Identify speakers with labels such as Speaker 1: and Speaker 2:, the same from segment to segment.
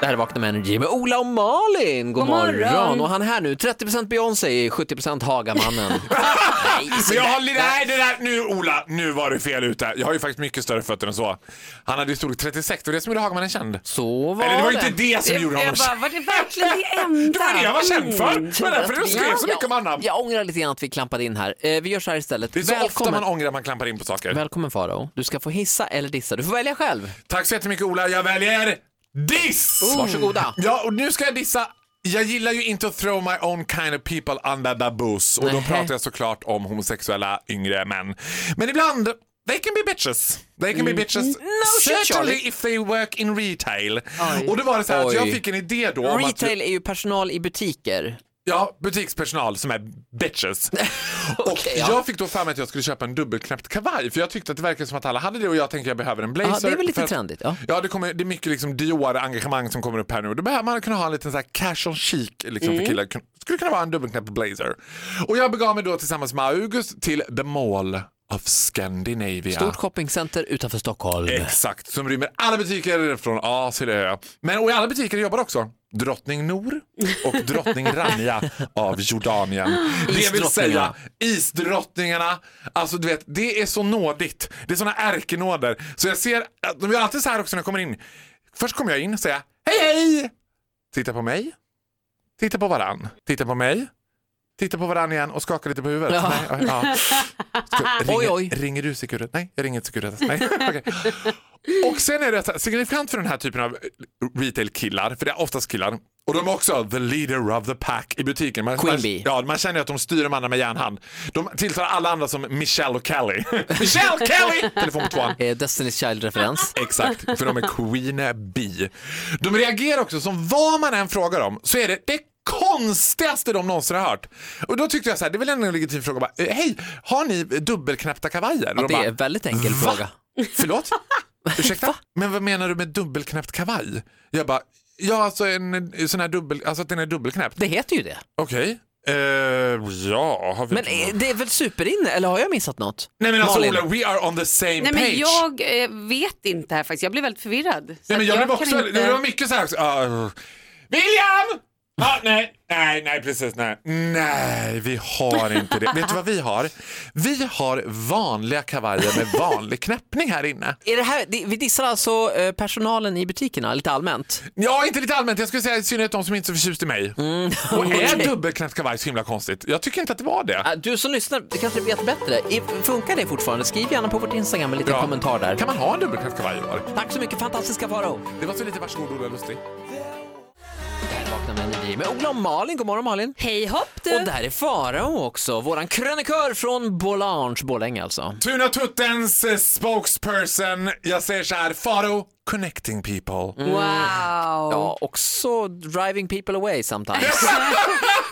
Speaker 1: Det här är Vakna med Energy med Ola och Malin. God,
Speaker 2: God morgon.
Speaker 1: Och han är här nu, 30% Beyoncé, 70% Hagamannen. Nej, så
Speaker 3: Men jag
Speaker 1: där-
Speaker 3: har lite, nej det där, nu Ola, nu var du fel ute. Jag har ju faktiskt mycket större fötter än så. Han hade ju storlek 36, det var det som gjorde Hagmannen känd.
Speaker 1: Så var
Speaker 3: Eller det var inte det som gjorde honom
Speaker 2: Ebba,
Speaker 3: känd.
Speaker 2: var det verkligen det enda?
Speaker 3: Det var det jag var känd för. Det var därför du skrev så mycket om honom.
Speaker 1: Jag, jag ångrar lite grann att vi klampade in här. Eh, vi gör så här istället.
Speaker 3: Det är så ofta
Speaker 1: Välkommen.
Speaker 3: man ångrar att man klampar in på saker.
Speaker 1: Välkommen Farao. Du ska få hissa eller dissa. Du får välja själv.
Speaker 3: Tack så jättemycket Ola, jag väljer diss!
Speaker 1: Varsågoda.
Speaker 3: Oh. Ja, och nu ska jag dissa. Jag gillar ju inte att throw my own kind of people under the bus. Och då
Speaker 1: Nähä.
Speaker 3: pratar jag såklart om homosexuella yngre män. Men ibland, they can be bitches. They can be bitches.
Speaker 1: Mm. shit,
Speaker 3: certainly
Speaker 1: Charlie.
Speaker 3: if they work in retail. Och då var det så här att jag
Speaker 1: Oj.
Speaker 3: fick en idé då om att...
Speaker 1: Retail är ju personal i butiker.
Speaker 3: Ja, butikspersonal som är bitches. och
Speaker 1: Okej, ja.
Speaker 3: jag fick då för mig att jag skulle köpa en dubbelknäppt kavaj för jag tyckte att det verkade som att alla hade det och jag tänkte jag behöver en blazer.
Speaker 1: Ja, det är väl lite
Speaker 3: för att-
Speaker 1: trendigt. Ja.
Speaker 3: Ja, det, kommer, det är mycket liksom Dior-engagemang som kommer upp här nu. Då behöver man kunna ha en liten så här casual chic liksom,
Speaker 1: Mm.
Speaker 3: för killar. Kun- skulle kunna vara en dubbelknäppt blazer. Och jag begav mig då tillsammans med August till The Mall of Scandinavia.
Speaker 1: Stort shoppingcenter utanför Stockholm.
Speaker 3: Eh. Exakt, som rymmer alla butiker från A till Ö. Men och i alla butiker jobbar också drottning Nor och drottning Rania av Jordanien. Det vill
Speaker 1: Isdrottningarna.
Speaker 3: säga isdrottningarna. Alltså du vet, det är så nådigt. Det är såna ärkenåder. Så jag ser, att de gör alltid så här också när jag kommer in. Först kommer jag in och säger hej hej! Titta på mig. Titta på varann. Titta på mig. Titta på varann igen och skaka lite på huvudet.
Speaker 1: Ja.
Speaker 3: Nej, ja. Ska- Ringer,
Speaker 1: Oj, oj.
Speaker 3: ringer du Securitas? Nej, jag ringer inte Securitas. Nej. okej. Och sen är det så här, signifikant för den här typen av retail-killar, för det är oftast killar, och de är också the leader of the pack i butiken. Man,
Speaker 1: Queen
Speaker 3: man,
Speaker 1: Bee.
Speaker 3: ja, man känner ju att de styr de andra med järnhand. De tilltalar alla andra som Michelle och Kelly. Michelle Kelly! Telefon på tvåan.
Speaker 1: Eh, Destiny's Child-referens.
Speaker 3: Exakt, för de är Queen Bee. De reagerar också som vad man än frågar om så är det det konstigaste de någonsin har hört. Och då tyckte jag så här, det är väl ändå en legitim fråga. Bara, eh, Hej, har ni dubbelknäppta kavajer? Och de
Speaker 1: Det
Speaker 3: bara,
Speaker 1: är en väldigt enkel
Speaker 3: "Va?"
Speaker 1: fråga.
Speaker 3: Förlåt? Ursäkta? Men vad menar du med dubbelknäppt kavaj? Jag bara, ja alltså en eh, sån här dubbel, alltså att den är dubbelknäppt.
Speaker 1: Det heter ju det.
Speaker 3: Okej. Eh, ja, har vi...
Speaker 1: Men eh, det är väl superinne, eller har jag missat något?
Speaker 3: Nej men alltså
Speaker 1: Malin.
Speaker 3: Ola, we are on the same
Speaker 2: Nej,
Speaker 3: page.
Speaker 2: men jag eh, vet inte här faktiskt. Jag blev väldigt förvirrad. Så
Speaker 3: Nej, men
Speaker 2: att
Speaker 3: jag, blev
Speaker 2: kan
Speaker 3: också,
Speaker 2: inte-
Speaker 3: det var mycket så här också. ah, William! Ah, nej, nej, nej, precis, nej. Nej, vi har inte det. Vet du vad vi har? Vi har vanliga kavajer med vanlig knäppning här inne.
Speaker 1: Är det här, det- vi dissar alltså eh, personalen i butikerna lite allmänt.
Speaker 3: Ja, inte lite allmänt. Jag skulle säga i synnerhet de som inte är så förtjust i mig. Och är dubbelknäppt kavaj så himla konstigt? Jag tycker inte att det var det.
Speaker 1: Ah, Du som lyssnar du kanske vet bättre. I- Funkar det fortfarande? Skriv gärna på vårt Instagram en liten
Speaker 3: Ja.
Speaker 1: kommentar där.
Speaker 3: Kan man ha en dubbelknäppt kavaj i år?
Speaker 1: Tack så mycket fantastiska Farao.
Speaker 3: Det var så lite varsågod Ola Lustig.
Speaker 1: Vakna med energi med Ola och Malin. God morgon Malin.
Speaker 2: Hej hopp
Speaker 1: Och
Speaker 2: du!
Speaker 1: där är Farao också, våran krönikör från Bolange, Borlänge alltså.
Speaker 3: Tuna Tuttens eh, spokesperson. Jag säger så här, Faro, connecting people.
Speaker 2: Wow!
Speaker 1: Ja, också driving people away sometimes.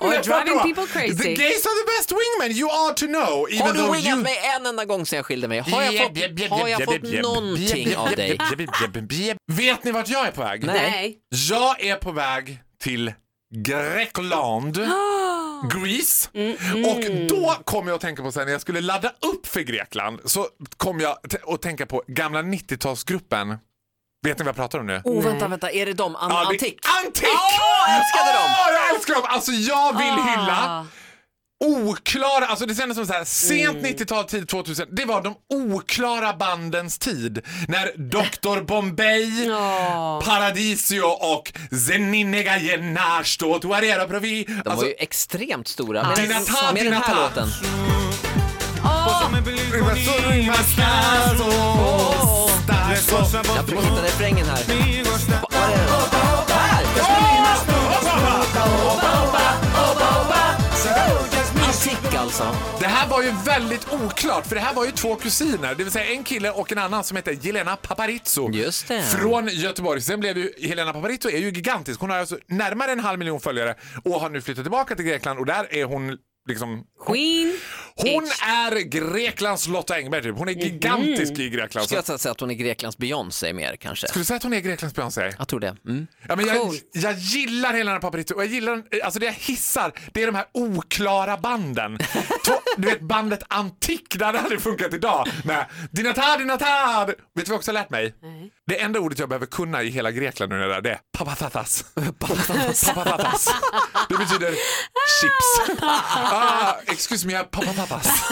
Speaker 2: Och driving
Speaker 3: Vadå?
Speaker 2: people
Speaker 3: The
Speaker 2: crazy.
Speaker 3: gays are the best wingmen, you are to know. Even
Speaker 1: Har du
Speaker 3: though
Speaker 1: wingat
Speaker 3: you...
Speaker 1: mig en enda gång sen jag skilde mig? Har jag
Speaker 3: Jeb, jeb,
Speaker 1: fått, har jag
Speaker 3: jeb,
Speaker 1: fått
Speaker 3: jeb, jeb,
Speaker 1: någonting
Speaker 3: jeb,
Speaker 1: av
Speaker 3: jeb,
Speaker 1: dig?
Speaker 3: jeb, jeb, jeb, jeb. Vet ni vart jag är på väg?
Speaker 1: Nej.
Speaker 2: Nej.
Speaker 3: Jag är på väg till Grekland, Greece. Och då kom jag att tänka på sen när jag skulle ladda upp för Grekland så kom jag t- att tänka på gamla 90-talsgruppen. Vet ni vad jag pratar om nu?
Speaker 1: Oh, vänta, vänta, är det de? An-
Speaker 3: Ja, det-
Speaker 1: antik?
Speaker 3: Antik!
Speaker 1: Åh, jag älskade dem! Ah.
Speaker 3: Åh, jag älskar dem! Alltså jag vill hylla oklara, alltså det kändes som så här,
Speaker 1: Mm.
Speaker 3: sent 90-tal, tid 2000, det var de oklara bandens tid. När Dr. Bombay, Paradisio och Zeninega Genashto Tuarero Provi.
Speaker 1: De
Speaker 3: Alltså,
Speaker 1: var ju extremt stora. Men
Speaker 3: Dinata,
Speaker 1: med den här
Speaker 3: Dinata.
Speaker 1: låten.
Speaker 3: Alltså,
Speaker 1: Jag försöker hitta refrängen här. Va- vad är det? Här! Antik alltså.
Speaker 3: Det här var ju väldigt oklart för det här var ju två kusiner, det vill säga en kille och en annan som heter Jelena Paparizou.
Speaker 1: Just det.
Speaker 3: Från Göteborg. Sen blev ju Helena Paparizou är ju gigantisk. Hon har alltså närmare en halv miljon följare och har nu flyttat tillbaka till Grekland och där är hon liksom
Speaker 2: Queen.
Speaker 3: Hon är Greklands Lotta Engberg typ. Hon är gigantisk i Grekland.
Speaker 1: Mhm. Ska
Speaker 3: Så,
Speaker 1: jag säga att hon är Greklands Beyoncé mer kanske?
Speaker 3: skulle du säga att hon är Greklands Beyoncé?
Speaker 1: Jag tror det. Mm.
Speaker 3: Ja, men jag,
Speaker 2: Coolt.
Speaker 3: jag gillar hela den här paparizzi och jag gillar, alltså det jag hissar det är de här oklara banden. To, du vet bandet Antik, det hade aldrig funkat idag. Med dinatad, dinatad. Vet du vad jag också har lärt mig? Det enda ordet jag behöver kunna i hela Grekland nu när jag är där, det är papatatas. papatatas. Det betyder chips. ah, excuse me, jag har papatatas.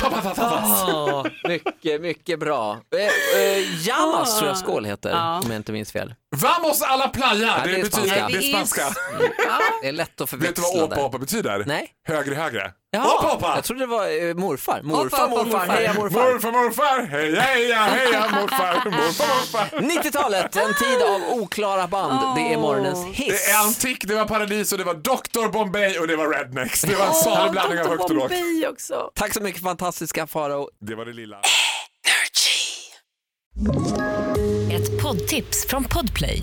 Speaker 3: papatatas.
Speaker 1: Ja, mycket, mycket bra. Eh, eh, Llamas tror jag skål heter,
Speaker 2: Ja.
Speaker 1: om jag inte minns fel.
Speaker 3: Vamos a la playa.
Speaker 1: Ja,
Speaker 3: Det,
Speaker 1: det är
Speaker 3: betyder,
Speaker 1: spanska.
Speaker 3: det är spanska.
Speaker 1: Det är lätt att
Speaker 3: Vet du
Speaker 1: förväxla
Speaker 3: vad
Speaker 1: där.
Speaker 3: åpa åpa betyder?
Speaker 1: Nej.
Speaker 3: Högre högre.
Speaker 1: Jaha,
Speaker 3: Åpa åpa!
Speaker 1: Jag trodde det var eh, morfar. Morfar,
Speaker 2: Hoppa, hoppa,
Speaker 1: morfar,
Speaker 2: morfar.
Speaker 1: heja morfar.
Speaker 3: Morfar, morfar, heja, heja, heja, morfar, morfar, morfar.
Speaker 1: 90-talet, en tid av oklara band. Det är morgonens hiss.
Speaker 3: Det är antik, det var paradis och det var Dr Bombay och det var Rednex. Det var en salig blandning av högt och lågt.
Speaker 2: Bombay också.
Speaker 1: Tack så mycket fantastiska Farao.
Speaker 3: Det var det lilla.
Speaker 4: Ett poddtips från Podplay.